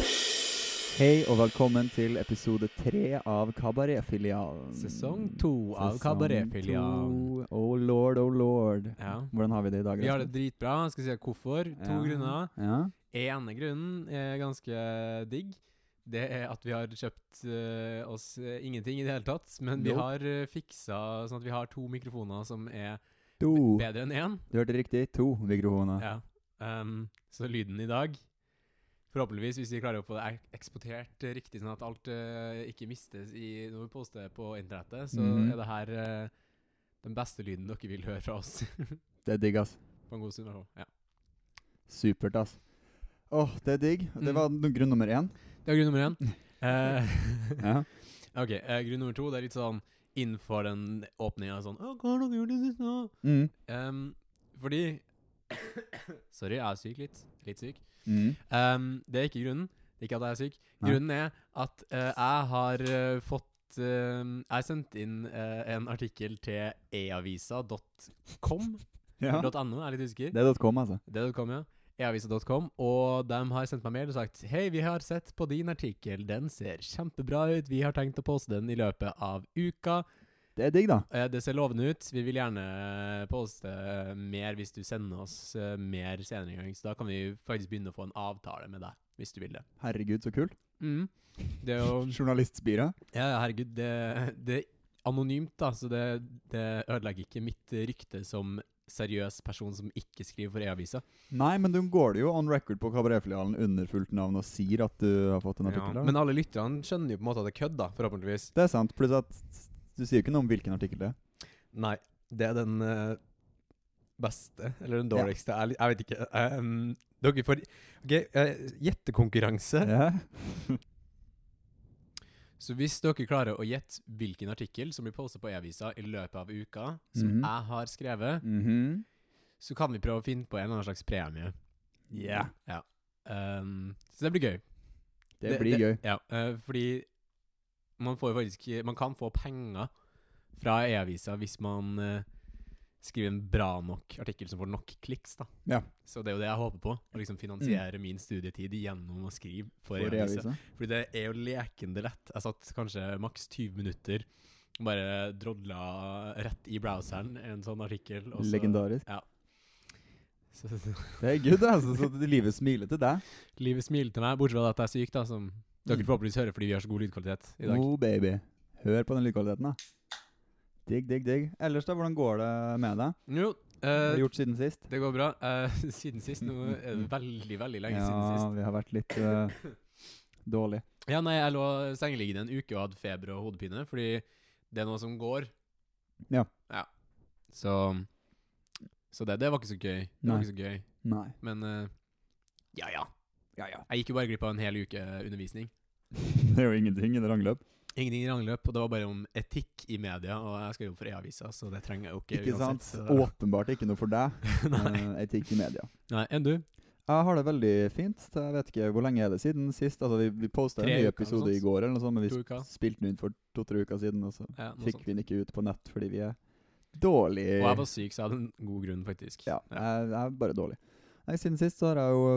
Hei og velkommen til episode tre av Kabaretfilialen. Sesong to av Kabaretfilialen. Sesong to. Oh lord, oh lord. Ja. Hvordan har vi det i dag? Vi har det Rasmus? dritbra. Jeg Skal si hvorfor. To Ja. grunner. Ja. Ene grunnen er ganske digg. Det er at vi har kjøpt eh, oss eh, ingenting i det hele tatt. Men vi Nope. har eh, fiksa sånn at vi har to mikrofoner som er To. bedre enn én. Du hørte riktig. To mikrofoner. Ja. Ehm, så lyden i dag Forhåpentligvis, hvis vi klarer å få det ek- eksportert eh, riktig, sånn at alt eh, ikke mistes i, når vi poster det på internettet, så Mhm. er det her eh, den beste lyden dere vil høre fra oss. Det er digg, ass. på en god stund, i hvert fall. Ja. Supert, ass. Åh, det er digg. Det Mm. var no- grunn nummer én. Det er grunn nummer én. Eh, Ja. ok, eh, grunn nummer to det er litt sånn innenfor den åpninga sånn «Å, hva har dere gjort i det siste nå?» Mm. Em, Fordi Sorry, jeg er syk litt. Litt syk. Mm. Em, det er ikke grunnen. Det er ikke at jeg er syk. Nei. Grunnen er at eh, jeg har eh, fått em, Jeg sendte inn eh, en artikkel til eavisa.com. Ja. eller .no, jeg er litt usikker. Det er .com, altså. Det .com, ja. E-avisa.com. Og de har sendt meg mail og sagt Hei, vi har sett på din artikkel. Den ser kjempebra ut. Vi har tenkt å poste den i løpet av uka. Det er digg, da. Eh, Det ser lovende ut. Vi vil gjerne poste eh, mer hvis du sender oss eh, mer senere en gang. Så da kan vi faktisk begynne å få en avtale med deg, hvis du vil det. Herregud, så kult. Mm. Det er jo Journalistspira. Ja, herregud. Det, det er anonymt, da, så det, det ødelegger ikke mitt rykte som seriøs person som ikke skriver for E-avisa. Nei, men du går det jo on record på Kabaretfilialen under fullt navn og sier at du har fått en artikkel. der. Men alle lytterne skjønner jo på en måte at det er kødd, da, forhåpentligvis. Det er sant. Pluss at du sier jo ikke noe om hvilken artikkel det er. Nei, det er den eh, beste, eller den dårligste. Jeg, jeg vet ikke. Eh, um, dere får Ok, eh, gjettekonkurranse. Ja. Så hvis dere klarer å gjette hvilken artikkel som blir postet på E-avisa i løpet av uka, som Mhm. jeg har skrevet, Mhm. så kan vi prøve å finne på en eller annen slags premie. Ja. Um, så det blir gøy. Det, blir gøy. Ja, eh, fordi man får jo faktisk Man kan få penger fra E-avisa hvis man eh, skriver en bra nok artikkel som får nok kliks, da. Ja. Mm. Så det er jo det jeg håper på. Å liksom finansiere min studietid gjennom å skrive for, For E-avisa. E-avisa. Fordi det er jo lekende lett. Jeg satt kanskje maks 20 minutter og bare drodla rett i browseren en sånn artikkel. og så- Legendarisk. Ja. Så, så, Det er good, altså. Så det- livet smiler til deg. livet smiler til meg, bortsett fra at jeg er syk, da, som dere forhåpentligvis hører fordi vi har så god lydkvalitet i dag. Mm. Oh, baby. Hør på den lydkvaliteten, da. Digg, digg, digg. Ellers, da? Hvordan går det med deg? Jo, Hva har eh, du gjort siden sist? det går bra. Eh, siden sist. Nå er det veldig, veldig lenge siden Ja, sist. vi har vært litt eh, dårlig. Ja, nei, jeg lå sengeliggende en uke og hadde feber og hodepine, fordi det er noe som går. Ja. Så, så det, det var ikke så gøy. Det Nei. var ikke så gøy. Nei. Men eh, ja, ja. Ja, ja. Jeg gikk jo bare glipp av en hel uke undervisning. Det er jo ingenting i det langløp. Ingenting i rangløp, og det var bare om etikk i media, og jeg skal jobbe for E-avisa, så det trenger jeg jo ikke. Ikke sant? uansett, så- Åpenbart ikke noe for deg. nei, eh, etikk i media. nei. Enn du? Jeg har det veldig fint. så Jeg vet ikke hvor lenge er det siden sist. Altså, vi vi posta en Tre ny uker eller episode noe i sånt. går, eller noe sånt, men vi To uker? sp- spilte den inn for to-tre uker siden, og så Ja, noe fikk sånt. vi den ikke ut på nett fordi vi er dårlig. Og jeg var syk, så jeg hadde en god grunn, faktisk. Ja, jeg, jeg er bare dårlig. Nei, siden sist så har jeg jo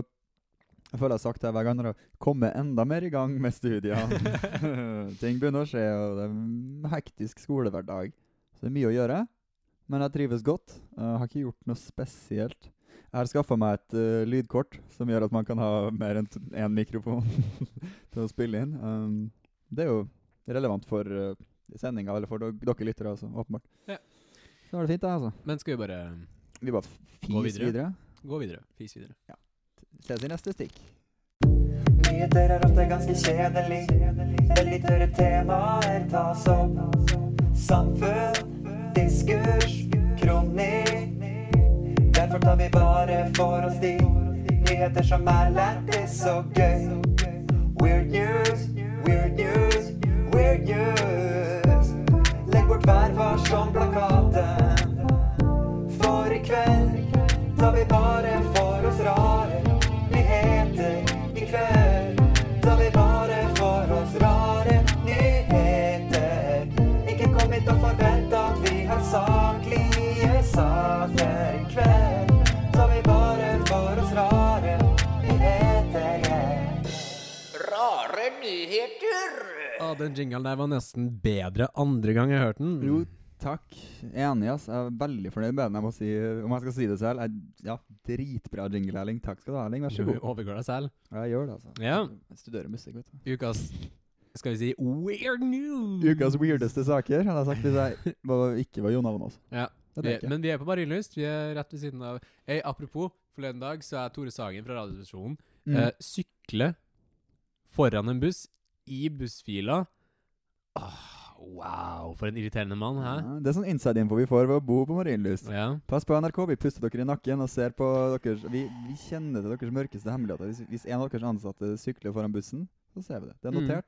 Jeg føler jeg har sagt det hver gang når jeg har kommet enda mer i gang med studiene. Ting begynner å skje, og det er en hektisk skolehverdag. Så det er mye å gjøre. Men jeg trives godt. Jeg har ikke gjort noe spesielt. Jeg har skaffa meg et eh, lydkort som gjør at man kan ha mer enn t- én mikrofon til å spille inn. Um, det er jo relevant for uh, sendinga, eller for dog- dere lyttere, altså, åpenbart. Ja. Så var det fint, da, altså. Men skal vi bare Vi bare f- Gå fis videre. videre. gå videre? Fis videre. Ses i neste stikk. Nyheter er ofte ganske kjedelig. Det litt tørre temaer tas opp. Samfunn, diskurs, kronikk. Derfor tar vi bare for oss de nyheter som er lættis og gøy. Weird news, weird news, weird news. Legg bort hver varsom-plakaten. For i kveld tar vi bare for oss rare nyheter. I kveld tar vi bare for oss rare nyheter. Ikke kom hit og forvent at vi har saklig vakner i kveld, så vi bare får oss rare nyheter. Rare nyheter. Å, Ah, den jinglen der var nesten bedre andre gang jeg hørte den. Jo, takk. Enig, ass. Jeg er veldig fornøyd med den. Jeg må si, om jeg skal si det selv. Jeg, ja, Dritbra jingle, Erling. Takk skal du ha, Erling. Vær så Du god. overgår deg selv. Ja, Jeg gjør det, altså. Ja. Jeg studerer musikk, vet du. Ukas Skal vi si weird news? Mm. Ukas weirdeste saker, hadde jeg sagt hvis jeg var- ikke var Jon Almaas. Ja. Det Vi, ble ikke. men vi er på Marienlyst. Vi er rett ved siden av Ei, Apropos, forleden dag så er Tore Sagen fra Radioresepsjonen Mm. eh, sykle foran en buss i bussfila. Åh, wow, for en irriterende mann, hæ? Ja, det er sånn inside-info vi får ved å bo på Marienlyst. Ja. Pass på NRK, vi puster dere i nakken og ser på deres Vi, vi kjenner til deres mørkeste hemmeligheter. Hvis, hvis en av deres ansatte sykler foran bussen, så ser vi det. Det er Mm. notert.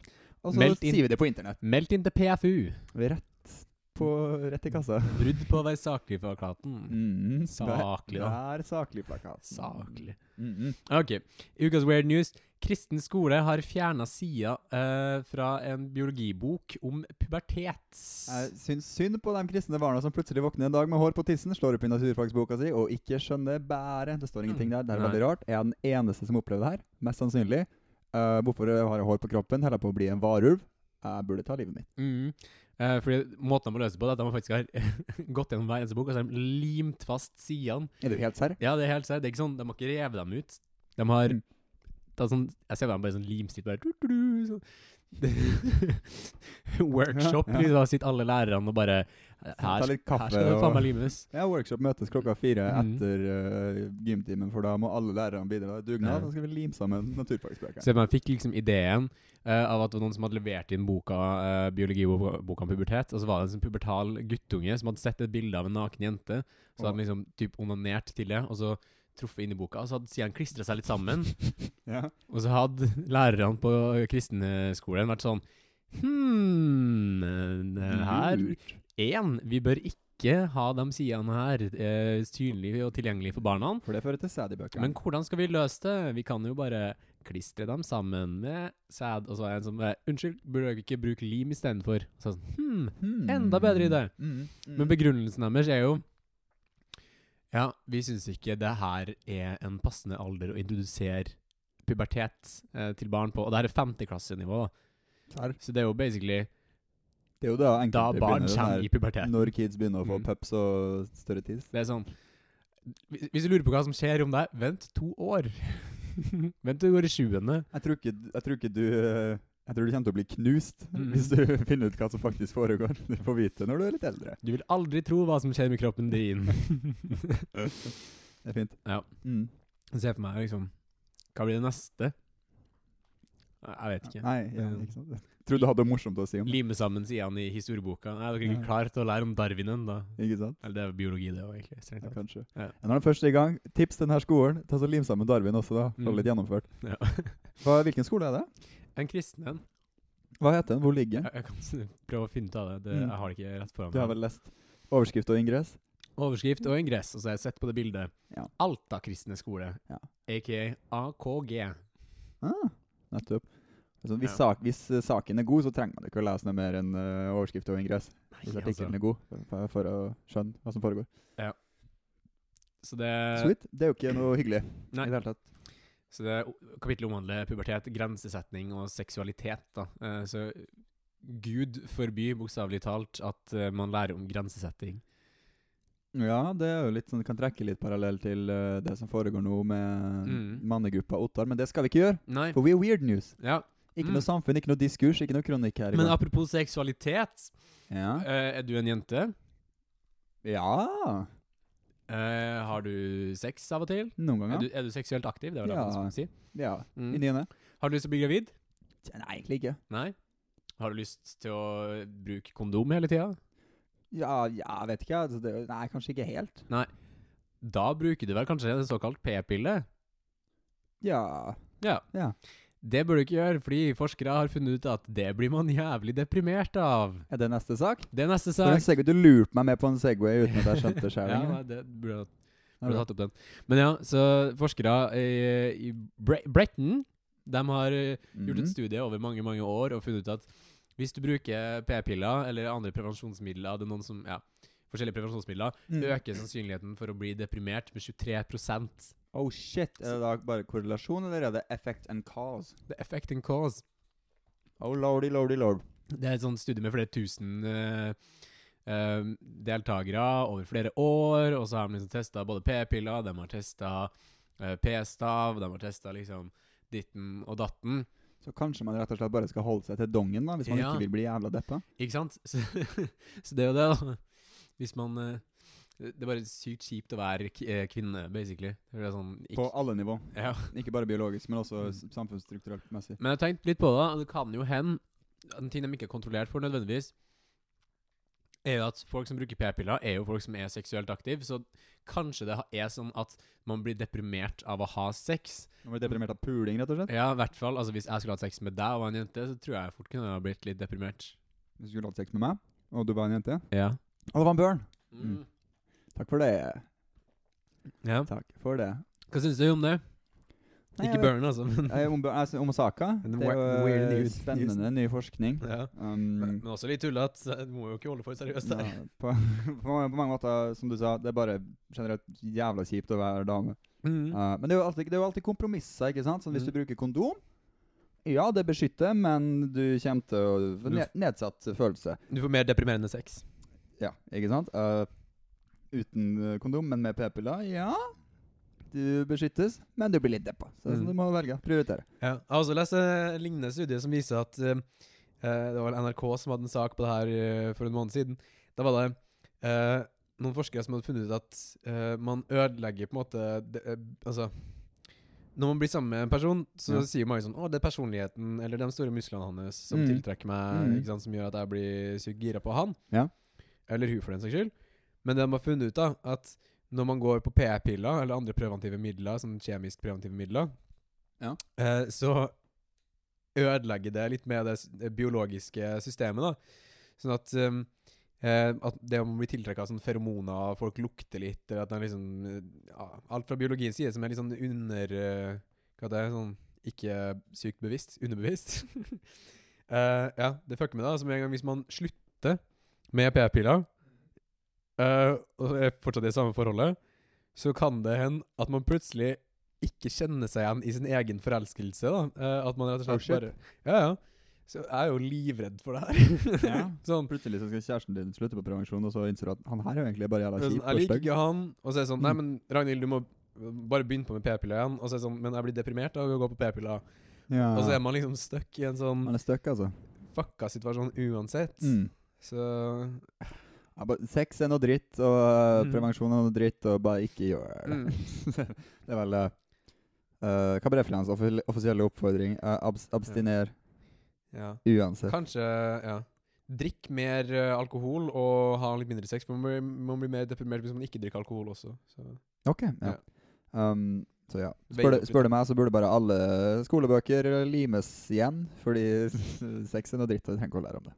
Og så Meldt inn. sier vi det på internett. Meldt inn til PFU. Rett, på, rett i kassa. Brudd på å være saklig for plakaten. Mm. Saklig, da. Det er saklig plakat. Saklig. Mm. Ok. Ukas weird news. Kristen skole har fjerna sida eh, fra en biologibok om pubertet. Jeg syns synd på de kristne barna som plutselig våkner en dag med hår på tissen, slår opp i naturfagsboka si og ikke skjønner bæret. Det står ingenting der. Det er Mm, Nei. veldig rart. Er jeg den eneste som opplever det her? Mest sannsynlig. Eh, hvorfor har jeg hår på kroppen? Holder jeg på å bli en varulv? Jeg burde ta livet mitt. Mm. Eh, fordi Måten de må løse på det, er at de faktisk har gått gjennom hver eneste bok og så har de limt fast sidene. Er du helt serr? Ja, det er helt sant. Det er ikke sånn, De har ikke revet dem ut. De har Mm. tatt sånn, Jeg ser for meg bare sånn limstilt bare du, du, du, sånn. Det- Workshop. Ja, ja. Liksom, da sitter alle lærerne og bare Ta Her, litt her kaffe skal det og- faen meg limes. Ja, workshop møtes klokka fire Mhm. etter eh, gymtimen, for da må alle lærerne bidra. Det er Ja. Dugnad. Da skal vi lime sammen naturfagsbøkene. Så man fikk liksom ideen eh, av at det var noen som hadde levert inn boka eh, biologiboka om pubertet, og så var det en sånn pubertal guttunge som hadde sett et bilde av en naken jente, så hadde han liksom typ onanert til det, og så truffet inn i boka, og så hadde sidene klistra seg litt sammen, Ja. og så hadde lærerne på kristenskolen vært sånn Hm, eh, her Lurt. Én, vi bør ikke ha de sidene her eh, synlige og tilgjengelige for barna. For det fører til sæd i bøkene. Men hvordan skal vi løse det? Vi kan jo bare klistre dem sammen med sæd. Og så var jeg en som eh, Unnskyld, burde dere ikke bruke lim istedenfor? Så jeg sånn, hmm, Hmm. enda bedre idé. Mhm, mhm. Men begrunnelsen deres er jo Ja, vi syns ikke det her er en passende alder å introdusere pubertet eh, til barn på. Og det her er femteklassenivå, da. Serr. Så det er jo basically Det er jo da enkelte da barn begynner den kommer her- i pubertet. Når kids begynner å få Mm. pups og større tiss. Det er sånn Hvis hvis du lurer på hva som skjer om deg, vent to år. vent til du går i sjuende. Jeg tror ikke, jeg tror ikke du eh, Jeg tror du kommer til å bli knust Mm. hvis du finner ut hva som faktisk foregår. Du får vite når du er litt eldre. Du vil aldri tro hva som skjer med kroppen din. Det er fint. Ja. Mm. Se for meg liksom Hva blir det neste? Jeg vet ikke. Nei, ja, ikke sant? Jeg tror du hadde noe morsomt å si om det. Lime sammen sidene i historieboka. Nei, dere er Ja. ikke klare til å lære om Darwin ennå. Ikke sant? Eller det er jo biologi, det òg, egentlig. strengt Ja, tatt. kanskje. Ja. Men Når den først er i gang, tips til denne skolen. Ta så Lim sammen Darwin også, da. Få det litt gjennomført. Mm. Ja. Hva, hvilken skole er det? En kristen en. Hva heter den? Hvor ligger den? Jeg, jeg kan s- prøve å finne ut av det. det Mm. jeg har det ikke rett Du har foran meg. vel lest overskrift og ingress? Overskrift og ingress, og så har jeg sett på det bildet. Ja. Alta kristne skole, Ja. aka AKG. Ah, nettopp. Altså, hvis, Ja. sak, hvis eh, saken er god, så trenger man ikke å lese noe mer enn eh, overskrift og ingress. Hvis altså. artikkelen er god, for, for å skjønne hva som foregår. Så det, Sweet. Det er jo ikke noe hyggelig Eh, Nei. i det hele tatt. Så det kapittelet omhandler pubertet, grensesetning og seksualitet. Da. Eh, Så Gud forby, bokstavelig talt, at eh, man lærer om grensesetting. Ja, det er jo litt sånn, kan trekke litt parallell til eh, det som foregår nå med Mm. mannegruppa Ottar, men det skal vi ikke gjøre, Nei. for we er weird news. Ja. Ikke Mm. noe samfunn, ikke noe diskurs, ikke noe kronikk her. i Men gang. apropos seksualitet. ja. eh, Er du en jente? ja. Eh, Har du sex av og til? Noen Er, ganger. du, er du seksuelt aktiv? Det var det Ja. man skulle si. Ja. I Mm. niende? Har du lyst til å bli gravid? Nei, egentlig ikke. Nei. Har du lyst til å bruke kondom hele tida? Ja, ja, vet ikke. Altså, det, nei, kanskje ikke helt. Da bruker du vel kanskje en såkalt p-pille? Ja. Ja. Ja. Det bør du ikke gjøre, fordi forskere har funnet ut at det blir man jævlig deprimert av. Er det neste sak? Det er neste For en sak. Segway, du lurte meg med på en Segway uten at jeg skjønte det sjøl. ja, nei, det burde, burde tatt opp den. Men ja, så forskere i, i Bre Britain de har eh, gjort Mhm. Mm. et studie over mange, mange år og funnet ut at hvis du bruker p-piller eller andre prevensjonsmidler, det er noen som ja, forskjellige prevensjonsmidler, Mm. øker sannsynligheten for å bli deprimert med 23 Oh shit, er det da bare korrelasjon, eller er det effect and cause? The effect and cause. Oh lordy, lordy, lord. Det er et sånt studie med flere tusen eh, eh, deltakere over flere år, og så har de liksom testa både p-piller, de har testa p-stav, de har testa liksom ditten og datten. Så kanskje man rett og slett bare skal holde seg til dongen, da, hvis man Ja. ikke vil bli jævla deppa? Ikke sant? Så, så det er jo det, da. Hvis man eh, Det er bare sykt kjipt å være k eh, kvinne, basically. Det er sånn ikke, På alle nivå. ja. Ikke bare biologisk, men også Mm. s- samfunnsstrukturelt messig. Men jeg har tenkt litt på det. og Det kan jo hende En ting de ikke er kontrollert for nødvendigvis, er jo at folk som bruker p-piller, er jo folk som er seksuelt aktive. Så kanskje det ha- er sånn at man blir deprimert av å ha sex. Man blir deprimert av puling, rett og slett. Ja, i hvert fall. Altså, hvis jeg skulle hatt sex med deg og var en jente, så tror jeg fort kunne jeg ha blitt litt deprimert. Hvis du skulle hatt sex med meg, og du var en jente Ja. Og det var en bjørn! Mm. Takk for det. ja. Takk for det. Hva syns du om det? Nei, ikke jeg- børn, altså, men Eh, Om, bjørn- altså, om saka. En Det er wa- weird jo eh, news- spennende ny forskning. ja. Um, Men også litt tullete, så du må jo ikke holde for seriøst. ja, på, på mange- på mange måter, som du sa, det er bare generelt jævla kjipt å være dame. Mm. Ja, men det er, jo alltid, det er jo alltid kompromisser, ikke sant? Sånn, hvis Mm. du bruker kondom Ja, det beskytter, men du kommer til å få Du ned, nedsatt følelse. Du får mer deprimerende sex. Ja, ikke sant? Eh, uten eh, kondom, men med p-piller. Ja, du beskyttes, men du blir litt deppa. Så det er sånn Mm. du må velge. Prioritere. Ja. Jeg har også lest en lignende studie som viser at eh, eh, Det var vel NRK som hadde en sak på det her eh, for en måned siden. Da var det eh, noen forskere som hadde funnet ut at eh, man ødelegger på en måte det, eh, Altså når man blir sammen med en person, så Ja. sier mange sånn 'Å, det er personligheten eller de store musklene hans som Mm. tiltrekker meg', Mm. ikke sant, som gjør at jeg blir sykt gira på han. Ja. Eller hun, for den saks skyld. Men det de har funnet ut, da, at når man går på p-piller eller andre preventive midler, sånn kjemisk preventive midler, Ja. eh, så ødelegger det litt med det s- det biologiske systemet, da. Sånn at um, eh, at det om man blir tiltrekket av sånne feromoner, og folk lukter litt, eller at det er liksom eh, ja, Alt fra biologiens side som er litt sånn under eh, Hva det er sånn Ikke sykt bevisst. Underbevisst. Eh, ja, det fucker med deg. Altså, med en gang hvis man slutter med p-piller, eh, og er fortsatt i det samme forholdet, så kan det hende at man plutselig ikke kjenner seg igjen i sin egen forelskelse. da. Eh, at man rett og Oh, slett shit. bare Ja, ja. Så jeg er jo livredd for det her. Ja. sånn, Plutselig så skal kjæresten din slutte på prevensjon, og så innser du at han her er jo egentlig bare jævla sånn, kjip jeg og liker stygg. ikke han, og så er det sånn Nei, Mm. men Ragnhild, du må bare begynne på med p-piller igjen. Og så er det sånn Men jeg blir deprimert av å gå på p-piller. Ja. Og så er man liksom stuck i en sånn Han er stuck, altså. fucka situasjon uansett. Mm. Så Ja, bare sex er noe dritt, og eh, Mm. prevensjon er noe dritt, og bare ikke gjør det. mm. Det er vel uh, Hva ble Flans offil- offisielle oppfordring? Eh, abs abstiner Ja. uansett. Kanskje Ja. Drikk mer eh, alkohol og ha litt mindre sex. For man blir, man blir mer deprimert hvis man ikke drikker alkohol også. Så. Ok, ja. Um, så ja. Veie Spør, opp du- spør du meg, så burde bare alle skolebøker limes igjen. Fordi sex er noe dritt, og vi trenger ikke å lære om det.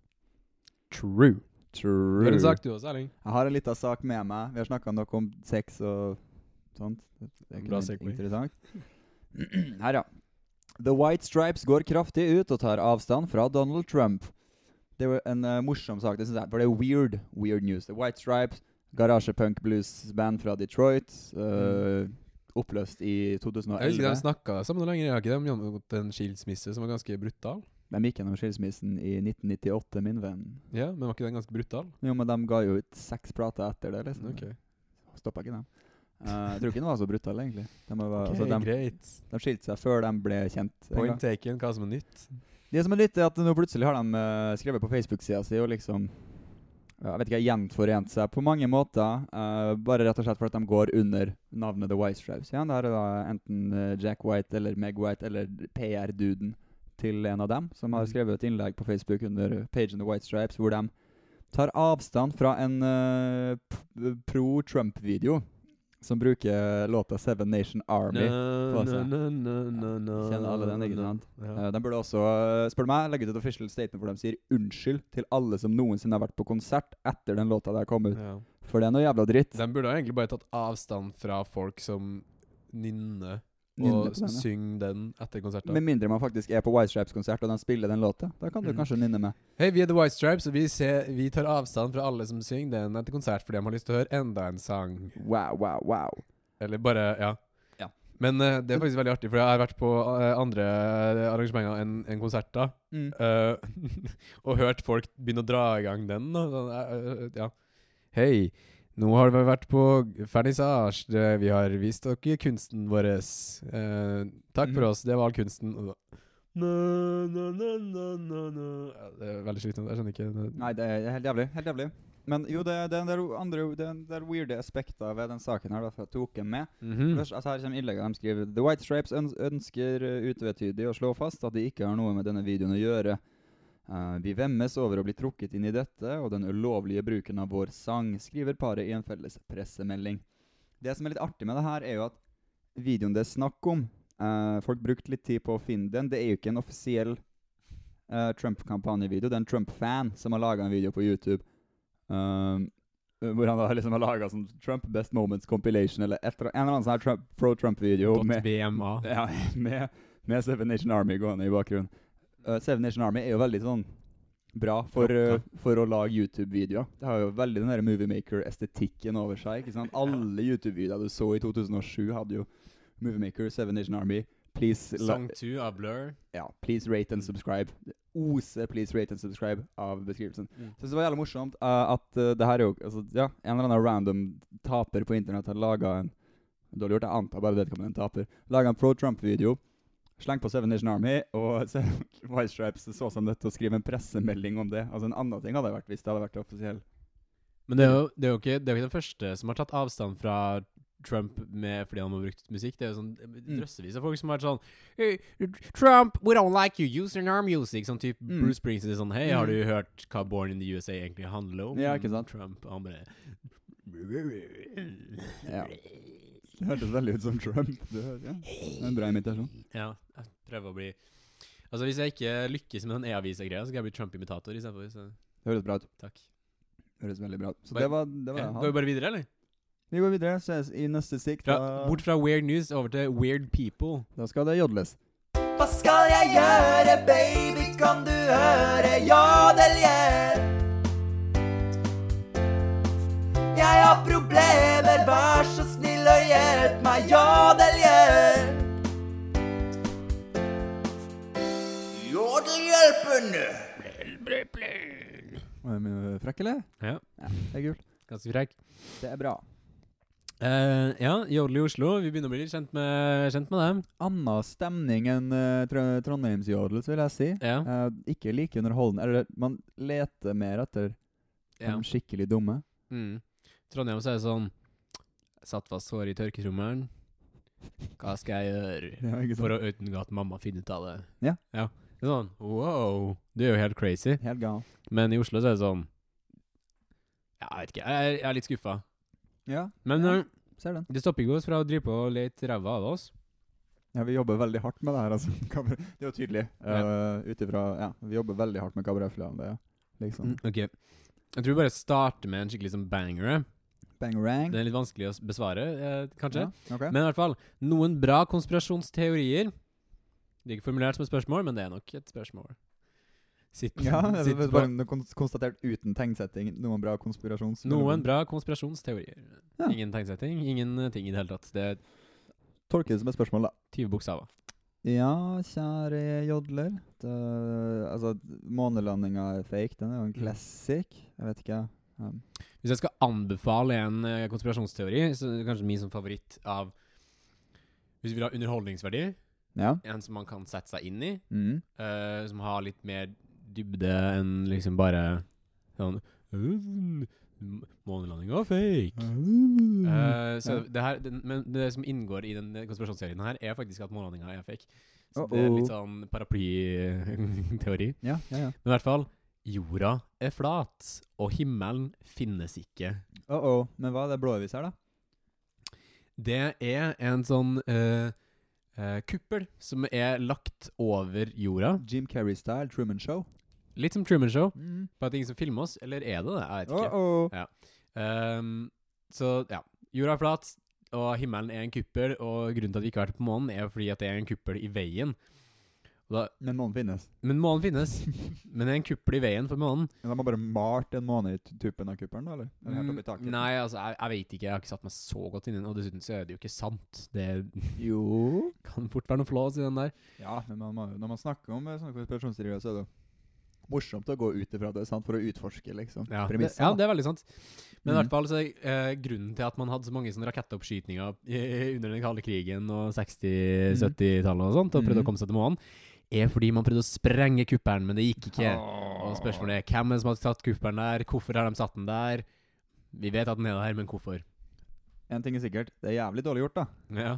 True. Du har True. en sak du også, Erling. Jeg har en liten sak med meg. Vi har snakka noe om sex og sånt. Det er ikke Bra noe segway. interessant. Her, ja. The White Stripes går kraftig ut og tar avstand fra Donald Trump. Det er jo en eh, morsom sak, det synes jeg, for det er weird, weird news. The White Stripes, garasjepunk-blues-band fra Detroit, eh, oppløst i Mm. Jeg husker 2011. de snakka sammen lenger. Jeg har ikke de gjennomgått en skilsmisse som var ganske brutal? De gikk gjennom skilsmissen i 1998, min venn. Ja, men var ikke den ganske brutal? Jo, men de ga jo ut seks plater etter det, liksom. Ok, Stoppa ikke dem. Eh, jeg tror ikke den var så brutal, egentlig. De, var, altså, de, greit. De skilte seg før de ble kjent. en gang. Point taken, hva som er nytt? Det som er litt, er at nå plutselig har de eh, skrevet på Facebook-sida si og liksom ja, Jeg vet ikke, gjenforent seg på mange måter. eh, bare rett og slett fordi de går under navnet The White Stripes. Ja, det her er da enten eh, Jack White eller Meg White eller PR-duden til en av dem, som har Mm. skrevet et innlegg på Facebook under pagen The White Stripes, hvor de tar avstand fra en eh, p- pro Trump-video som bruker låta Seven Nation Army. Na, på seg. na, na, na, na, Kjenner alle den, na, ikke na. sant? Ja. Eh, De burde også, eh, spør du meg, legge ut et official statement hvor de sier unnskyld til alle som noensinne har vært på konsert etter den låta der kom ut. Ja. For det er noe jævla dritt. De burde ha egentlig bare tatt avstand fra folk som nynner Nynne og på den, ja. synge den etter konserten. Med mindre man faktisk er på White Stripes-konsert og de spiller den låta. Da kan du Mm. kanskje nynne med. Hei, vi er The White Stripes, og vi, ser, vi tar avstand fra alle som synger den etter konsert fordi de har lyst til å høre enda en sang. Wow, wow, wow. Eller bare Ja. Ja. Men eh, det er faktisk veldig artig, for jeg har vært på eh, andre arrangementer enn enn konsert da, Mm. eh, og hørt folk begynne å dra i gang den. Og, sånn, eh, eh, ja. Hei, nå har vi vært på vernissasje. Det- Vi har vist dere kunsten vår. Eh, takk for Mhm. oss, det var all kunsten. Og da, na, na, na, na, na, na. Ja, Det er veldig slitsomt. Jeg skjønner ikke det- Nei, det er helt jævlig. Helt jævlig. Men jo, det, det er en del andre Det er en del weirde aspekter ved den saken her, da, for jeg tok den med. Mhm. Først, altså her kommer innlegget de skriver The White Stripes øns ønsker eh, utvetydig å slå fast at de ikke har noe med denne videoen å gjøre. Eh, vi vemmes over å bli trukket inn i dette og den ulovlige bruken av vår sang, skriver paret i en felles pressemelding. Det som er litt artig med det her, er jo at videoen det er snakk om eh, Folk brukte litt tid på å finne den. Det er jo ikke en offisiell eh, Trump-kampanjevideo. Det er en Trump-fan som har laga en video på YouTube. Um, hvor han da liksom har laga sånn Trump Best Moments compilation eller et, eller- en eller annen sånn her Trump, pro Trump-video Dot med, BMA. ja, med, med Seven Nation Army gående i bakgrunnen. Uh, Seven Nation Army er jo veldig sånn bra for, Rocka. uh, for å lage YouTube-videoer. Det har jo veldig den der Moviemaker-estetikken over seg. ikke sant? Alle YouTube-videoer du så i 2007, hadde jo Moviemaker, Seven Nation Army Please, la- Sang 2 av Blur. ja, please rate and subscribe. Det oser 'please rate and subscribe' av beskrivelsen. Mm. Synes det var jævlig morsomt eh, at eh, det her er jo altså, ja, En eller annen random taper på internett har laga en Dårlig gjort, jeg antar bare vedkommende er en taper. Laga en pro Trump-video. Slengt på Seven Nation Army, og se- White Stripes så seg nødt til å skrive en pressemelding om det. Altså En annen ting hadde det vært hvis det hadde vært offisiell. Men det Mm. er jo, det er jo ikke, det er jo ikke den første som har tatt avstand fra Trump med, fordi han har brukt musikk. Det er jo sånn Mm. drøssevis av folk som har vært sånn hey, Trump, we don't like you using our music. Sånn type Mm. Bruce Springsteen er sånn Hei, Mm. har du hørt hva Born in the USA egentlig handler om? Ja, ikke sant? Trump, og han bare Ja. Det hørtes veldig ut som Trump. Det hø- ja. En bra imitasjon. Ja, jeg prøver å bli Altså, hvis jeg ikke lykkes med den e-avisa-greia, så skal jeg bli Trump-imitator istedenfor. Så Det høres bra ut. takk. Høres veldig bra ut. Så Bare- det var det. Var, Ja, det jeg går vi hadde. bare videre, eller? Vi går videre. Ses i neste stikk. Fra, Da, bort fra weird news over til weird people. da skal det jodles. Hva skal jeg gjøre, baby, kan du høre jodel, yeah? Jeg har problemer, vær så snill og hjelp meg, jodel, yeah. Jodelhjelpende. Er vi frekke, eller? Ja, Ja, det er kult. ganske frekk. Det er bra. Eh, ja, Jodel i Oslo. Vi begynner å bli litt kjent med, kjent med dem. Anna stemning enn uh, Trondheimsjodel, så vil jeg si. Ja, Eh, ikke like underholdende. Eller man leter mer etter ja. de skikkelig dumme. Mm. Trondheim så er det sånn Satt fast håret i tørketrommelen. Hva skal jeg gjøre Ja, ikke sant? for å unngå at mamma finner ut av det? Ja. Det er sånn Wow, du er jo helt crazy. Helt gal. Men i Oslo så er det sånn Ja, jeg vet ikke. Jeg er, jeg er litt skuffa. Ja, Men eh, ser den. det stopper ikke oss fra å drive på og lete ræva av oss. Ja, Vi jobber veldig hardt med det her. altså. Kabra- Det er jo tydelig. Uh, Ut ifra ja, Vi jobber veldig hardt med kabaretfilmen. Ja. Liksom. Mm, ok. Jeg tror vi bare starter med en skikkelig sånn banger. eh. Bangarang. Den er litt vanskelig å s- besvare, eh, kanskje. Ja, ok. Men i hvert fall, noen bra konspirasjonsteorier. Det er ikke formulert som et spørsmål, men det er nok et spørsmål. Sitt, ja, det sitt er på bare kon- konstatert uten tegnsetting. Noen bra konspirasjons... noen bra konspirasjonsteorier. Ja. Ingen tegnsetting, ingenting i det hele tatt. Det er Tolker det som et spørsmål, da. 20 bokstaver. Ja, kjære jodler. Det, altså, månelandinga er fake. Den Mm. er jo en classic. Jeg vet ikke. Um, Hvis jeg skal anbefale en eh, konspirasjonsteori, så er det kanskje min som favoritt av Hvis vi vil ha underholdningsverdi, ja. en som man kan sette seg inn i, Mm. eh, som har litt mer dybde enn liksom bare sånn Månelandinga var fake. Eh, så Ja. det her, den, men det som inngår i den konspirasjonsserien her, er faktisk at månelandinga er fake. Så Uh-oh. det er litt sånn paraplyteori. ja, ja, ja. Men i hvert fall, jorda er flat, og himmelen finnes ikke. Oh, oh. Men hva er det blåvis her, da? Det er en sånn eh, eh, kuppel som er lagt over jorda. Jim Carrey-style Truman Show. Litt som Truman Show, Mm. bare at det er ingen som filmer oss. Eller er det det? Jeg vet Oh, ikke. oh. Ehm, så ja. Jorda er flat, og himmelen er en kuppel, og grunnen til at vi ikke har vært på månen, er fordi at det er en kuppel i veien. Og da, Men månen finnes. men månen finnes, men det er en kuppel i veien for månen. Men De har bare malt en måne i tu- tuppen av kuppelen, da? Eller? eller helt opp Mm, i taket? Nei, altså, jeg, jeg vet ikke. Jeg har ikke satt meg så godt inn i den. Og dessuten så er det jo ikke sant. Det Jo kan fort være noe flås i den der. Ja, men man, må- når man snakker om eh, sånne konspirasjonsteorier, så er det jo morsomt å gå ut ifra det, sant? For å utforske, liksom. Ja, det, Premissene. ja, det er veldig sant. Men i Mm. hvert fall så er eh, grunnen til at man hadde så mange sånne rakettoppskytninger eh, under den kalde krigen og Mm. 60-70-tallet og sånt, og prøvde Mhm. å komme seg til månen, er fordi man prøvde å sprenge kuppelen, men det gikk ikke. Åh. Og spørsmålet er hvem er det som har satt kuppelen der? Hvorfor har de satt den der? Vi vet at den er der, men hvorfor? En ting er sikkert, det er jævlig dårlig gjort, da. Ja.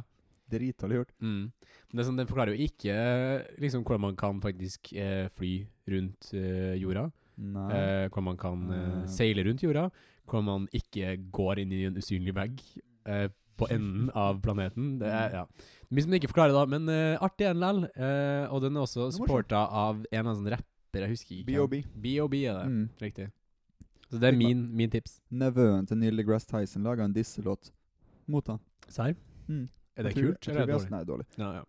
Dritdårlig gjort. Mm. Men det er sånn, den forklarer jo ikke eh, liksom, hvordan man kan faktisk eh, fly rundt eh, jorda. Nei. Eh, hvordan man kan eh, Ah. seile rundt jorda. Hvordan man ikke går inn i en usynlig vegg eh, på enden av planeten. Det er, ja. Det er mye som den ikke forklarer, da, men eh, artig er den likevel. Eh, og den er også Det er morsomt. supporta av en eller annen sånn rapper, jeg husker ikke. hvem. B.O.B. B.O.B. er det, Mm. riktig. Så det er min, min tips. Nevøen til Neil deGrasse Tyson laga en disselåt mot han. Serr? Mm. Er det Jeg tror- kult, jeg eller tror er vi det har- dårlig? Nei, dårlig. Ja, ja.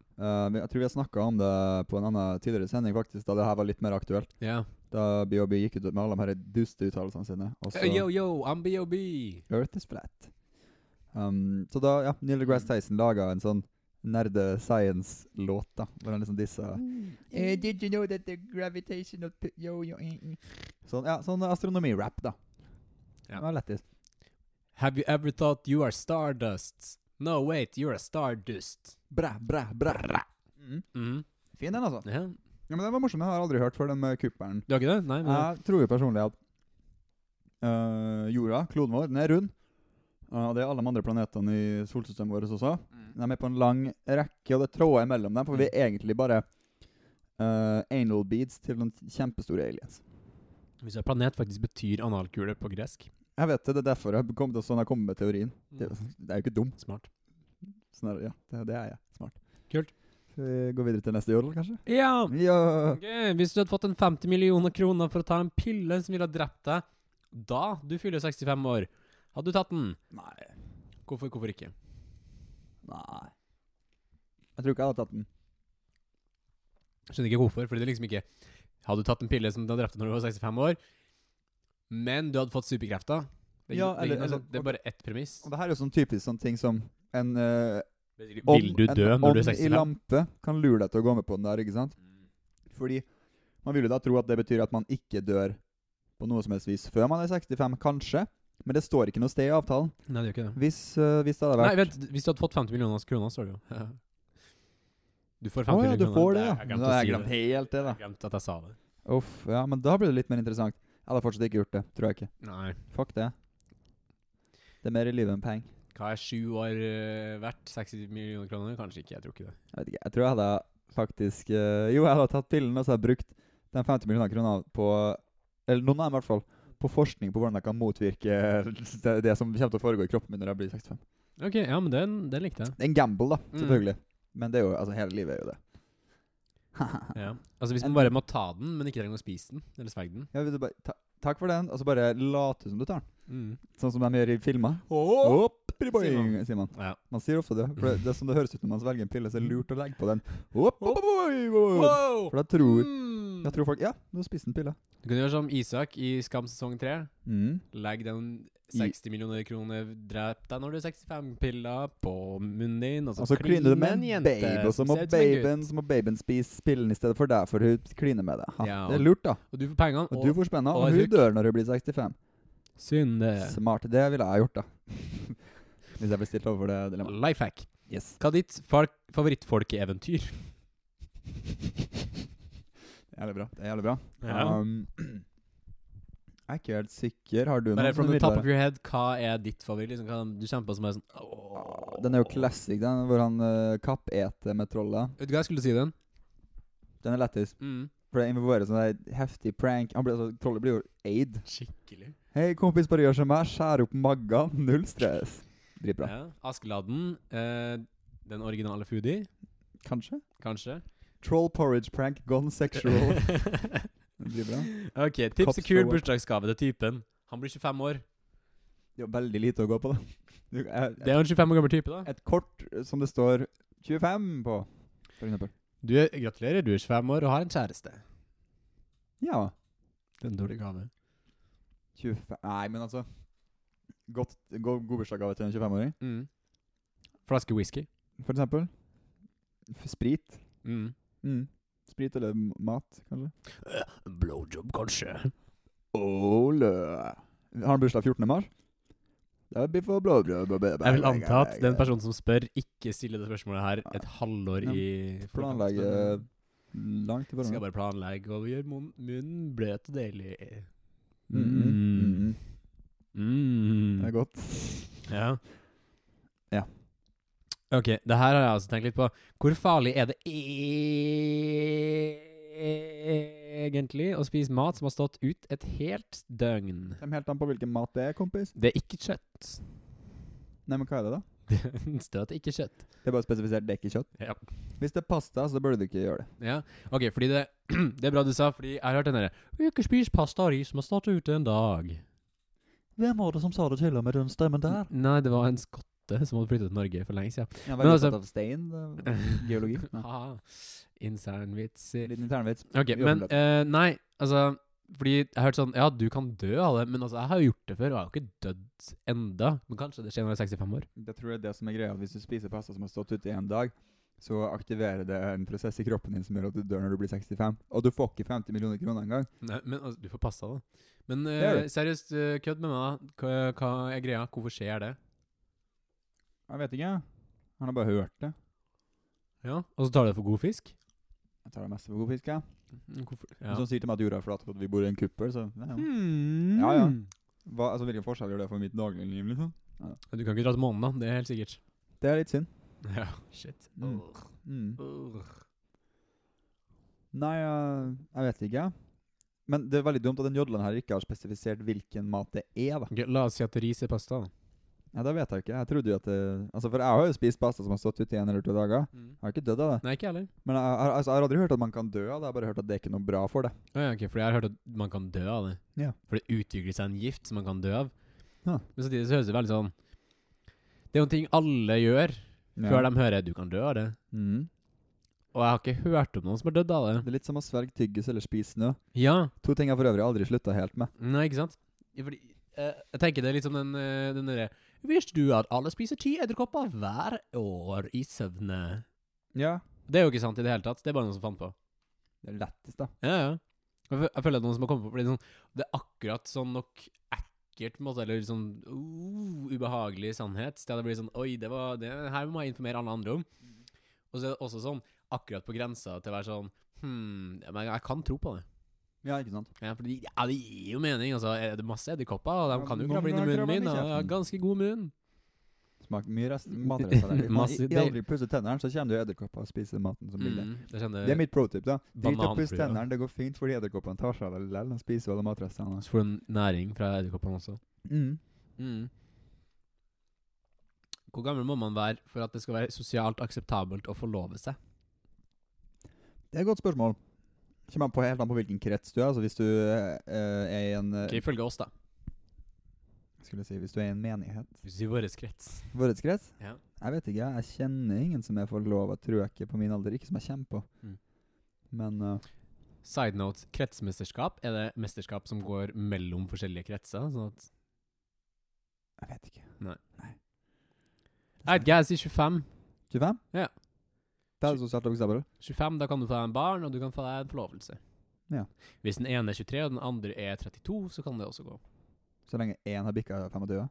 Eh, vi- jeg tror vi har snakka om det på en annen tidligere sending, faktisk, da det her var litt mer aktuelt. ja. Da BOB gikk ut med alle de her duste uttalelsene sine. Og Eh, Yo, så yo, I'm B.O.B. Earth is flat. Um, så da, ja, Neil deGrasse Tyson laga en sånn nerde-science-låt, da, hvor han liksom dissa Eh, did you know that the gravitational p- yo yo? eh, eh. Sånn, ja, sånn astronomi-rap, da. Ja. Det var lettis. Have you ever thought you are stardust? No, wait, you're a stardust. Bræ, bræ, bræ. Mm. Mhm. Fin den, altså. Ja. Ja, men Den var morsom. Jeg har aldri hørt før den med kuppelen. Du har ikke det? Nei, men Jeg tror jo personlig at øh, jorda, kloden vår, den er rund. Og det er alle de andre planetene i solsystemet vårt også. Mm. De er på en lang rekke, og det er tråder imellom dem, for vi er egentlig bare øh, anal beads til noen kjempestore aliens. Hvis en planet faktisk betyr analkule på gresk Jeg vet det, det er derfor jeg kom til sånn jeg kom med teorien. Det, Mm. det er jo ikke dumt. Smart. Sånn er, det, ja, det, det er jeg. Smart. Kult. Skal vi gå videre til neste jodel, kanskje? Ja! Ja. Ok, Hvis du hadde fått en 50 millioner kroner for å ta en pille som ville ha drept deg da du fyller 65 år, hadde du tatt den? Nei. Hvorfor, hvorfor ikke? Nei. Jeg tror ikke jeg hadde tatt den. Skjønner ikke hvorfor, fordi det er liksom ikke Hadde du tatt en pille som hadde drept deg når du var 65 år, men du hadde fått superkrefter det, er Ja, ikke- eller- det, er ikke noe eller- sånt- det er bare ett premiss. Og det her er jo sånn typisk sånn ting som en øh, Vil du dø en når du er ånd i 65? lampe kan lure deg til å gå med på den der, ikke sant? Fordi man vil jo da tro at det betyr at man ikke dør på noe som helst vis før man er 65, kanskje. Men det står ikke noe sted i avtalen. Nei, det gjør ikke det. Hvis, øh, hvis det hadde Nei, vært vent, hvis du hadde fått 50 millioner kroner, så er det jo Du får 50 Å ja, du millioner. får det, ja. Jeg Men glemte da å har jeg si det. glemt helt det, da. Jeg glemte at jeg sa det. Uff, ja, men da blir det litt mer interessant. Jeg hadde fortsatt ikke gjort det, tror jeg ikke. Nei. Fuck det. Det er mer i livet enn penger. Hva er sju år eh, verdt? 60 millioner kroner? Kanskje ikke, jeg tror ikke det. Jeg vet ikke, jeg tror jeg hadde faktisk øh, Jo, jeg hadde tatt pillen, og så hadde jeg brukt de 50 millioner kronene på Eller noen av dem, i hvert fall. På forskning på hvordan jeg kan motvirke det, det som kommer til å foregå i kroppen min når jeg blir 65. Ok, ja, men den, den likte jeg. Det er en gamble, da, Mm. selvfølgelig. Men det er jo, altså, hele livet er jo det. Ja. Altså Hvis man bare må ta den, men ikke trenger å spise den, eller svelge den. Ja, vil du bare, ta, takk for den, og så bare late som du tar den. Mm. Sånn som de gjør i filmer. Oh, Sier man. sier man. Ja. Man sier ofte det. For det, det er som det høres ut når man svelger en pille, så er det lurt å legge på den. Opp, opp, opp, opp, opp, opp. For da tror, Mm. da tror folk Ja, nå spiste den pilla. Du kan gjøre som Isak i Skam sesong 3. Mm. Legg den I- 60 millioner kroner drep deg når du er 65-pilla på munnen din, og så, Og så kliner du Altså, med en en jente babe, og så som må ser ut som en gutt. babyen, så må babyen spise pillen i stedet for deg, for hun kliner med deg. Ha, Ja, det og- er lurt, da. Og du får pengene, Og og, du får spenna, og og et hun huk. dør når hun blir 65. synd det. Smart. Det ville jeg gjort, da. Hvis jeg ble stilt overfor det dilemmaet. Life hack. Yes. Hva er ditt folk- favorittfolkeeventyr? Det er jævlig bra. Det er jævlig bra. Um, jeg er ikke helt sikker. Har du noen Bare som from the er top of middelbare? your head, hva er ditt favoritt? Liksom, hva du kjenner på som er sånn Åh, Den er jo classic, den hvor han uh, kappeter med trollet. Vet du hva jeg skulle si den? Den er lettis, Mm. for det involverer sånn der heftig prank. Han blir, altså, trollet blir jo aid. Skikkelig. Hei, kompis, bare gjør som meg. Skjær opp magga. Null stress. Dritbra. Ja. Askeladden. eh, den originale foodie, Kanskje? kanskje. Troll porridge prank gone sexual. det blir bra. ok, tips Cops og kul forward. bursdagsgave til typen. Han blir 25 år. Det er jo veldig lite å gå på, da. Du, jeg, Det er jo en 25 år gammel type, da. et kort eh, som det står 25 på, for eksempel. Du er, gratulerer, du er 25 år og har en kjæreste. Ja. Det er en dårlig gave. 25 Nei, men altså godt, go, God bursdagsgave til en 25-åring, Mm. Flaske whisky. for eksempel. F sprit. Mm. Mm. Sprit eller m- mat, kanskje. Blowjob, kanskje. Ole! Har han bursdag 14. mars? Det blir for blå, blå, blå, blå, blå, Jeg vil anta at den personen som spør, ikke stiller det spørsmålet her et halvår i Planlegge langt i Skal forhånd. bare planlegge og gjøre mun- munnen bløt og deilig. Mm, mm, mm, mm. Det er Mm. godt. Ja. Ja. Ok, det her har jeg altså tenkt litt på. Hvor farlig er det e- egentlig å spise mat som har stått ut et helt døgn? Kommer helt an på hvilken mat det er, kompis. Det er ikke kjøtt. Nei, men hva er det, da? Det står at det ikke er kjøtt. Det er bare spesifisert, det er ikke kjøtt. Ja. Hvis det er pasta, så burde du ikke gjøre det. Ja, ok, fordi det, det er bra du sa, fordi jeg har hørt den derre «Vi ikke spis pasta og ris som har stått ute en dag. Hvem var det som sa det til ham med den stemmen der? Nei, det var en skotte som hadde flyttet til Norge for lenge siden. Jeg er Men Mm. veldig altså- opptatt av stein. det er Geologi. Nei. Haha, Internvitser. Liten internvits. Ok, Jobben men løs. eh, nei, altså Fordi jeg har hørt sånn Ja, du kan dø av det, men altså, jeg har jo gjort det før, og jeg har jo ikke dødd enda Men kanskje det skjer når jeg er 65 år. Jeg tror det er det som er greia. at Hvis du spiser pasta som har stått ute i en dag, så aktiverer det en prosess i kroppen din som gjør at du dør når du blir 65. Og du får ikke 50 millioner kroner engang. Nei, men altså, du får passe deg, da. Men eh, Det gjør du. seriøst, eh, kødd med meg. da. Hva, hva er greia? Hvorfor skjer det? Jeg vet ikke. Han har bare hørt det. Ja, Og så tar du det for god fisk? Jeg tar det meste for god fisk, jeg. Hvorfor? Ja. Ja. Som sier til meg at jorda er flat og at vi bor i en kuppel, så ja, ja. Hmm. Ja, ja. Hva, altså, Hvilken forskjell gjør det for mitt daglige liv, liksom? Du kan ikke dra til månen, da. Det er helt sikkert. Det er litt synd. Ja, shit. Mm. Mm. Urr. Nei, jeg, jeg vet ikke. Men det er veldig dumt at den jodlen her ikke har spesifisert hvilken mat det er, da. Ok, la oss si at ris er pasta. da. Ja, Det vet jeg ikke. Jeg trodde jo at det, Altså, For jeg har jo spist pasta som har stått ute i en eller to dager. Jeg har ikke dødd av det. Nei, ikke jeg heller. Men jeg, jeg, altså, jeg har aldri hørt at man kan dø av det. Jeg har bare hørt at det er ikke noe bra for det. Å ja, ok, fordi jeg har hørt at man kan dø av det. Ja. For det utvikler seg en gift som man kan dø av. Ja. Men samtidig så høres det veldig sånn Det er jo en ting alle gjør før de hører 'du kan dø av det'. Mm. Og jeg har ikke hørt om noen som har dødd av det. Det er litt som å svelge tyggis eller spise snø. Ja, To ting jeg for øvrig aldri slutta helt med. Nei, ikke sant? Ja, Fordi, eh, jeg tenker det er litt som den, eh, den derre Visste du at alle spiser ti edderkopper hver år i søvne? Ja. Det er jo ikke sant i det hele tatt. Det er bare noen som fant på. Det er lettest, da. Ja, ja. Jeg, fø- jeg føler at noen som har kommet på fordi det, er sånn, det er akkurat sånn nok ekkelt, på en måte, eller sånn uh, ubehagelig sannhet. Så det blir sånn Oi, det var det her må jeg informere alle andre om. Og så er det også sånn akkurat på grensa til å være sånn Hm, ja, men jeg kan tro på det. Ja, ikke sant. Ja, for det, ja, det gir jo mening. Altså, er det masse edderkopper, og de Ja, kan jo noen krabbe inn i kan munnen krabbe min. inn i Og jeg har kjeften. ganske god munn. Smak mye rest matrester der. Hvis man Masse- i- aldri pusser tennene, så kommer det jo edderkopper og spiser maten som ligger der. Mm, det kjenner Det er mitt pro tip, da. Drit i å pusse Bananfrø. tennene. Det går fint, fordi edderkoppene tar seg av det likevel. De spiser jo alle matrestene. Så får du næring fra edderkoppene også. Mm. Mm. Hvor gammel må man være for at det skal være sosialt akseptabelt å forlove seg? Det er et godt spørsmål. Kommer an på helt an på hvilken krets du er. Altså Hvis du eh, er i en eh, Ok, Ifølge oss, da. Skulle jeg si Hvis du er i en menighet. Hvis i vår krets. Vår krets? Ja. Jeg vet ikke. Jeg kjenner ingen som er forlova, tror jeg ikke, på min alder. Ikke som jeg kjenner på. Mm. Men eh, Side note, kretsmesterskap er det mesterskap som går mellom forskjellige kretser. Sånn at jeg vet ikke. Nei, jeg sier 25. 25? Ja. Det er sosialt akseptabelt. 25, da kan du få deg en barn, og du kan få deg en forlovelse. Ja. Hvis den ene er 23, og den andre er 32, så kan det også gå. Så lenge én har bikka 25.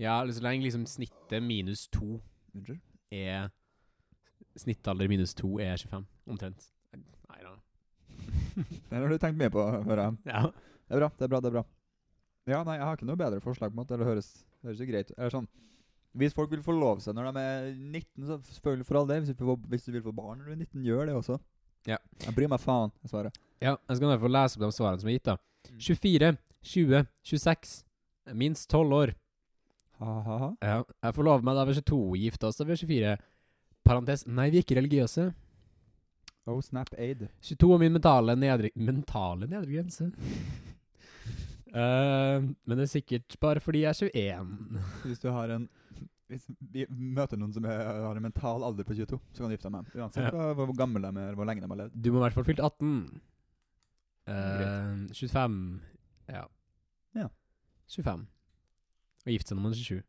Ja, eller så lenge liksom snittet minus 2 Unnskyld? er Snittalder minus 2 er 25, omtrent. Nei da. Den har du tenkt mye på, hører jeg. Ja. Det er bra, det er bra, det er bra. Ja, nei, jeg har ikke noe bedre forslag på en måte. Det høres, høres jo greit ut. Eller sånn Hvis folk vil forlove seg når de er 19, så selvfølgelig for all del. Hvis du, får- hvis du vil få barn når du er 19, gjør det også. Ja. Jeg bryr meg faen, jeg svarer. ja. Jeg skal derfor lese opp de svarene som er gitt, da. 24, 20, 26. Minst 12 år. Ha, ha, ha. Ja. Jeg forlover meg da ved 22, gifta oss da ved 24. Parentes nei, vi er ikke religiøse. Oh, snap aid. 22 er min mentale nedre, mentale nedre grense. Eh, men det er sikkert bare fordi jeg er 21. Hvis du har en hvis vi møter noen som er, har en mental alder på 22, så kan du gifte deg med dem. Uansett Ja. hva- hvor gammel de er, hvor lenge de har levd. Du må i hvert fall fylt 18. Eh, 25 ja. Ja. 25. Og gifte seg når man er 27.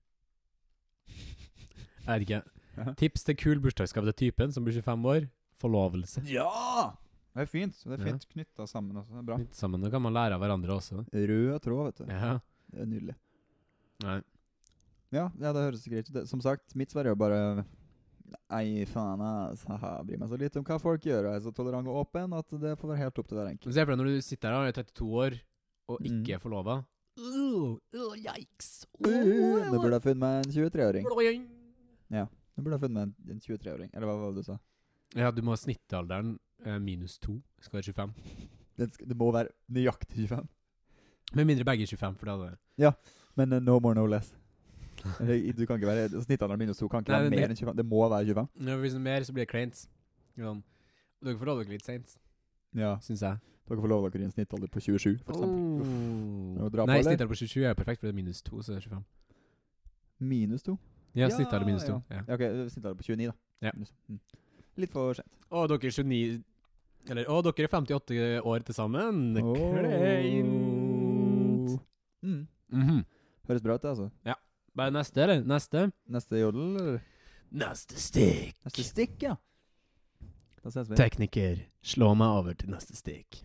Jeg vet ikke. Tips til kul bursdagsgave til typen som blir 25 år. Forlovelse. Ja! Det er fint. Det er Ja. fint knytta sammen også. Det er bra. Litt sammen, Da kan man lære av hverandre også. Rød tråd, vet du. Ja. Det er nydelig. Nei. Ja, ja det høres greit ut. Det- Som sagt, mitt svar er jo bare Ei, faen, ass. Haha, Jeg bryr meg så lite om hva folk gjør, og jeg er så tolerant og åpen at det får være helt opp til hver enkelt. Men se for deg når du sitter her og er 32 år og Mm. ikke er forlova. Uh, uh, yikes. Uh, Nå burde jeg funnet meg en 23-åring. Blåing. Nå burde jeg funnet meg en- en 23-åring. Eller hva var det du sa? Ja, du må ha snittalderen eh, minus to. Skal være 25. Det, sk- det må være nøyaktig 25. Med mindre begge er 25, for da hadde Men eh, no more, no less. Eller, i- du kan ikke være Snittalderen minus to kan ikke Nei, være men mer det- enn 25. Det må være 25. Når vi viser mer, så blir det kleint. Sånn. Dere forholder dere litt seint, Ja. syns jeg. Dere får lov dere i en snittalder på 27, for eksempel. Oh. Nå drar på, Nei, eller? snittalder på 27 er perfekt, for det er minus 2, så det er 25. Minus to. Ja, Ja, snittalder minus 2. Ja. Ja, ok, snittalder på 29, da. Ja. Minus- Mm. Litt for sent. Å, dere er 29 Eller å, dere er 58 år til sammen. Kleint. Åh. Mm. Mhm. Høres bra ut, det, altså. Bare neste, eller? Neste? Neste jodel, eller? Neste stikk. Neste stikk, ja. Da ses vi. Tekniker, slå meg over til neste stikk.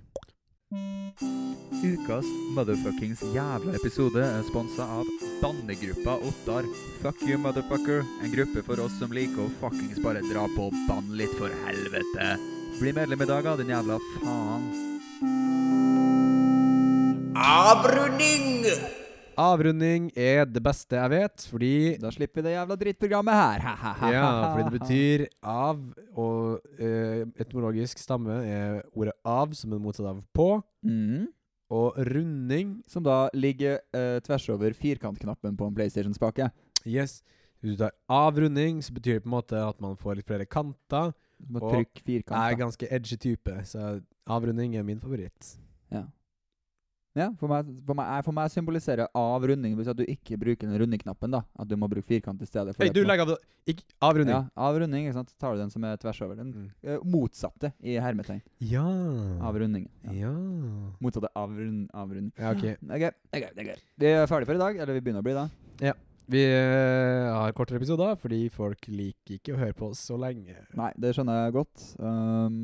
Ukas motherfuckings jævla episode er sponsa av bannegruppa Ottar. Fuck you, motherfucker. En gruppe for oss som liker å fuckings bare dra på og banne litt, for helvete. Bli medlem i dag, da, din jævla faen. Avrunding er det beste jeg vet, fordi Da slipper vi det jævla drittprogrammet her. Ja, fordi det betyr av, og eh, etymologisk stamme er ordet av som er motsatt av på, mm. og runding, Som da ligger eh, tvers over firkantknappen på en PlayStation-spake. yes. Hvis du tar avrunding, så betyr det på en måte at man får litt flere kanter. Du må Og trykke Jeg er firkant. da. ganske edgy type, så avrunding er min favoritt. Ja. Ja, for meg, for, meg, for meg symboliserer avrunding hvis at du ikke bruker den rundeknappen. da At du må bruke firkant i stedet. for Hei, det du på- legg av det. Ikke avrunding. Ja, avrunding. ikke sant? Tar du den som er tvers over. Den Mm. eh, motsatte i hermetegn. Ja. Avrundingen. Ja. Ja. Motsatte avrund, avrunding. Ja, ok. Ok, ok, ok. Vi er ferdige for i dag. Eller vi begynner å bli det. Vi eh, har kortere episoder, fordi folk liker ikke å høre på oss så lenge. Nei, det skjønner jeg godt. Um,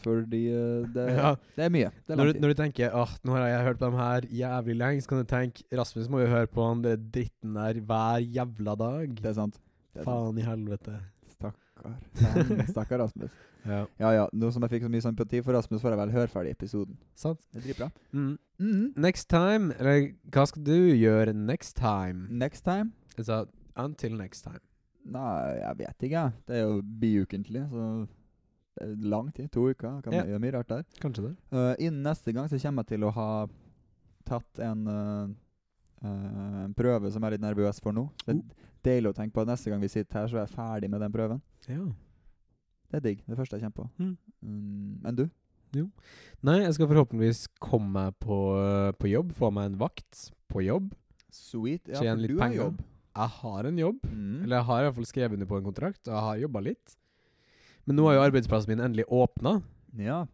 fordi eh, det, Ja. det er mye. Det er Når lang du, tid. når du tenker åh, nå har jeg hørt på dem her jævlig lenge, så kan du tenke Rasmus må jo høre på han der dritten der hver jævla dag. Det er sant. Det er sant. Faen i helvete. Stakkar. Faen, Stakkar Rasmus. Ja. Ja ja, nå som jeg fikk så mye sympati for Rasmus, får jeg vel høre ferdig episoden. Sant? Det er dritbra. Mm. Mhm. Next time, eller hva skal du gjøre next time? Next time? Altså, until next time. Nei, jeg vet ikke, jeg. Det er jo biukentlig, så det er lang tid. To uker. Kan Ja. gjøre mye rart der. Kanskje det. Eh, innen neste gang så kommer jeg til å ha tatt en eh, eh, en prøve som jeg er litt nervøs for nå. Det Oh. er deilig å tenke på at neste gang vi sitter her, så er jeg ferdig med den prøven. Ja. Det er digg. Det første jeg kommer på. Mm. Mm, enn du? Nei, jeg skal forhåpentligvis komme meg på, på jobb, få meg en vakt på jobb. Sweet. Ja, Tjene for litt du har penger. jobb. Jeg har en jobb, Mm. eller jeg har i hvert fall skrevet under på en kontrakt, og jeg har jobba litt. Men nå har jo arbeidsplassen min endelig åpna. Ja.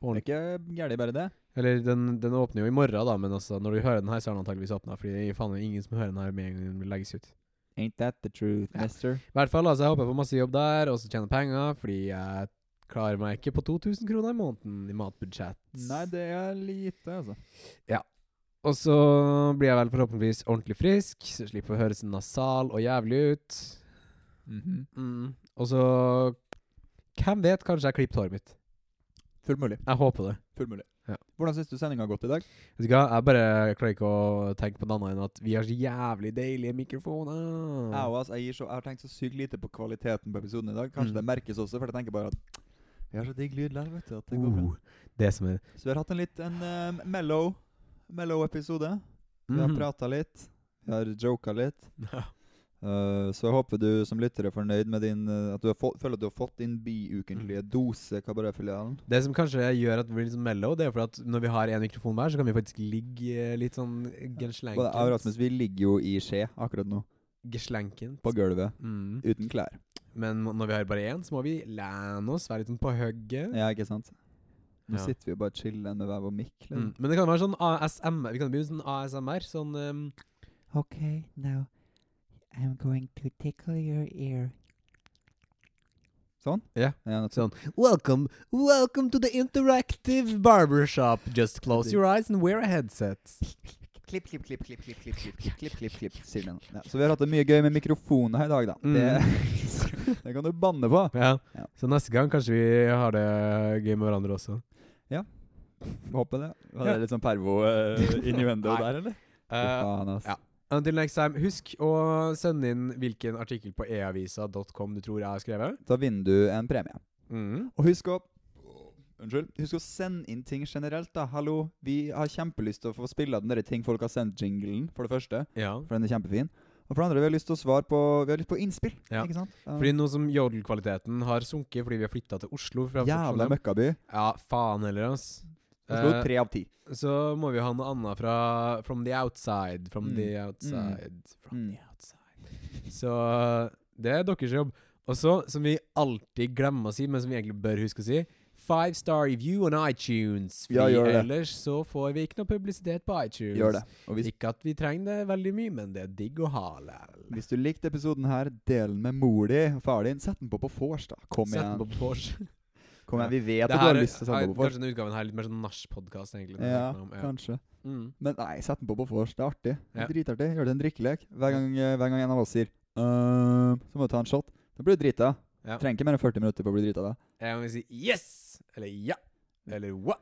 Det er ikke gærent, bare det. Eller den, den åpner jo i morgen, da, men altså, når du hører den her, så er den antakeligvis åpna. Fordi det er faen ingen som hører den her med en gang den legges ut. Ain't that the truth, Ja. mister? I hvert fall, altså, jeg håper jeg får masse jobb der, og så tjener penger, fordi jeg klarer meg ikke på 2000 kroner i måneden i matbudsjett. Nei, det er lite, altså. Og så blir jeg vel forhåpentligvis ordentlig frisk, så jeg slipper å høres nasal og jævlig ut. Mm. Og så Hvem vet, kanskje jeg klippet håret mitt. Fullt mulig. Jeg håper det. Fullt mulig. Ja. Hvordan syns du sendinga har gått i dag? Vet du hva, jeg bare klarer ikke å tenke på noe annet enn at vi har så jævlig deilige mikrofoner. Jeg, også, jeg, gir så, jeg har tenkt så sykt lite på kvaliteten på episoden i dag. Kanskje Mm. det merkes også, for jeg tenker bare at vi har så digg lyd der, vet du. At det går bra. Uh, det som er Så vi har hatt en litt en eh, mellow, mellow episode. Vi har Mhm. prata litt. Vi har joka litt. Ja. Eh, så jeg håper du som lytter er fornøyd med din eh, At du har fått, føler at du har fått din biukentlige Mm. dose kabaretfilialen. Det som kanskje gjør at vi blir litt sånn mellow, det er for at når vi har én mikrofon hver, så kan vi faktisk ligge eh, litt sånn Og jeg og genslenkent. Rasmus, vi ligger jo i skje akkurat nå. geslenkent. på gulvet Mm. uten klær. Men må- når vi har bare én, så må vi lene oss, være litt sånn på hugget. Ja, ikke sant? Nå Ja. sitter vi jo bare og chiller med hver vår liksom. mikk. Mm. Men det kan være sånn ASMR. Vi kan begynne sånn ASMR. Sånn ehm, Okay, now I'm going to tickle your ear. Sånn? Ja. ja nettopp. Sånn. Welcome, welcome to the interactive barbershop. Just close your eyes and wear a headset. Clip, clip, clip, clip, clip, clip, clip, clip, clip, clip. Sier den. Ja. Så vi har hatt det mye gøy med mikrofoner her i dag, da. Mm. Det, det kan du banne på. Ja. Ja. Så neste gang kanskje vi har det gøy med hverandre også. Håper det. Var Ja. det litt sånn pervo uh, innuendo Nei. der, eller? Fy Eh, faen, ass. ja. until next time, husk å sende inn hvilken artikkel på eavisa.com du tror jeg har skrevet. Da vinner du en premie. Mm. Og husk å Unnskyld. Husk å sende inn ting generelt, da. Hallo. Vi har kjempelyst til å få spille den derre ting folk har sendt jinglen, for det første. Ja. For den er kjempefin. Og for det andre, vi har lyst til å svare på Vi har lyst på innspill, Ja. ikke sant? Fordi nå som jodelkvaliteten har sunket fordi vi har flytta til Oslo fra Jævla Trondheim. møkkaby. Ja, faen heller, ass. Oslo Eh, tre av ti. så må vi ha noe annet fra From the outside. From Mm. the outside. From Mm. the outside. Så det er deres jobb. Og så, som vi alltid glemmer å si, men som vi egentlig bør huske å si, five star review on iTunes. Fordi Ja, gjør det. ellers så får vi ikke noe publisitet på iTunes. Gjør det. Og hvis, Ikke at vi trenger det veldig mye, men det er digg å ha læl. hvis du likte episoden her, del den med mor di og far din. Sett den på på vors, da. Kom Sett den igjen. på på vors. Kom igjen. Vi vet at du Det her har er- lyst til å sette er den på på vors. Kanskje denne utgaven her er litt mer sånn nach-podkast, egentlig. når Ja, jeg tenker meg om. ja. kanskje. Mm. Men nei, sett den på på vors. Det er artig. Det Ja. er Dritartig. Gjør det en drikkelek. Hver gang, eh, hver gang en av oss sier «Øhm», så må du ta en shot. Da blir du drita. Ja. Trenger ikke mer enn 40 minutter på å bli drita da. Jeg vil si yes, eller ja, eller hva.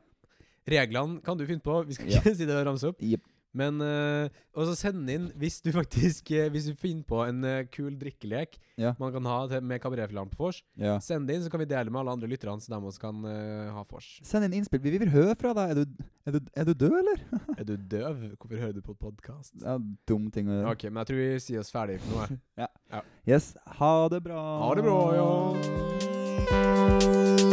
Reglene kan du finne på, vi skal Ja. ikke si det og ramse opp. Jep. Men eh, også send inn hvis du faktisk eh, Hvis du finner på en eh, kul drikkelek Ja. man kan ha til, med kabaretfilaren på vors, Ja. send det inn, så kan vi dele med alle andre lytterne, så de også kan eh, ha vors. Send inn innspill. Vi vil høre fra deg. Er du, er du, er du død, eller? Er du døv? Hvorfor hører du på podkast? Det er dum ting å gjøre. OK, men jeg tror vi sier oss ferdig for nå. jeg. Yes. Ha det bra. Ha det bra, ja.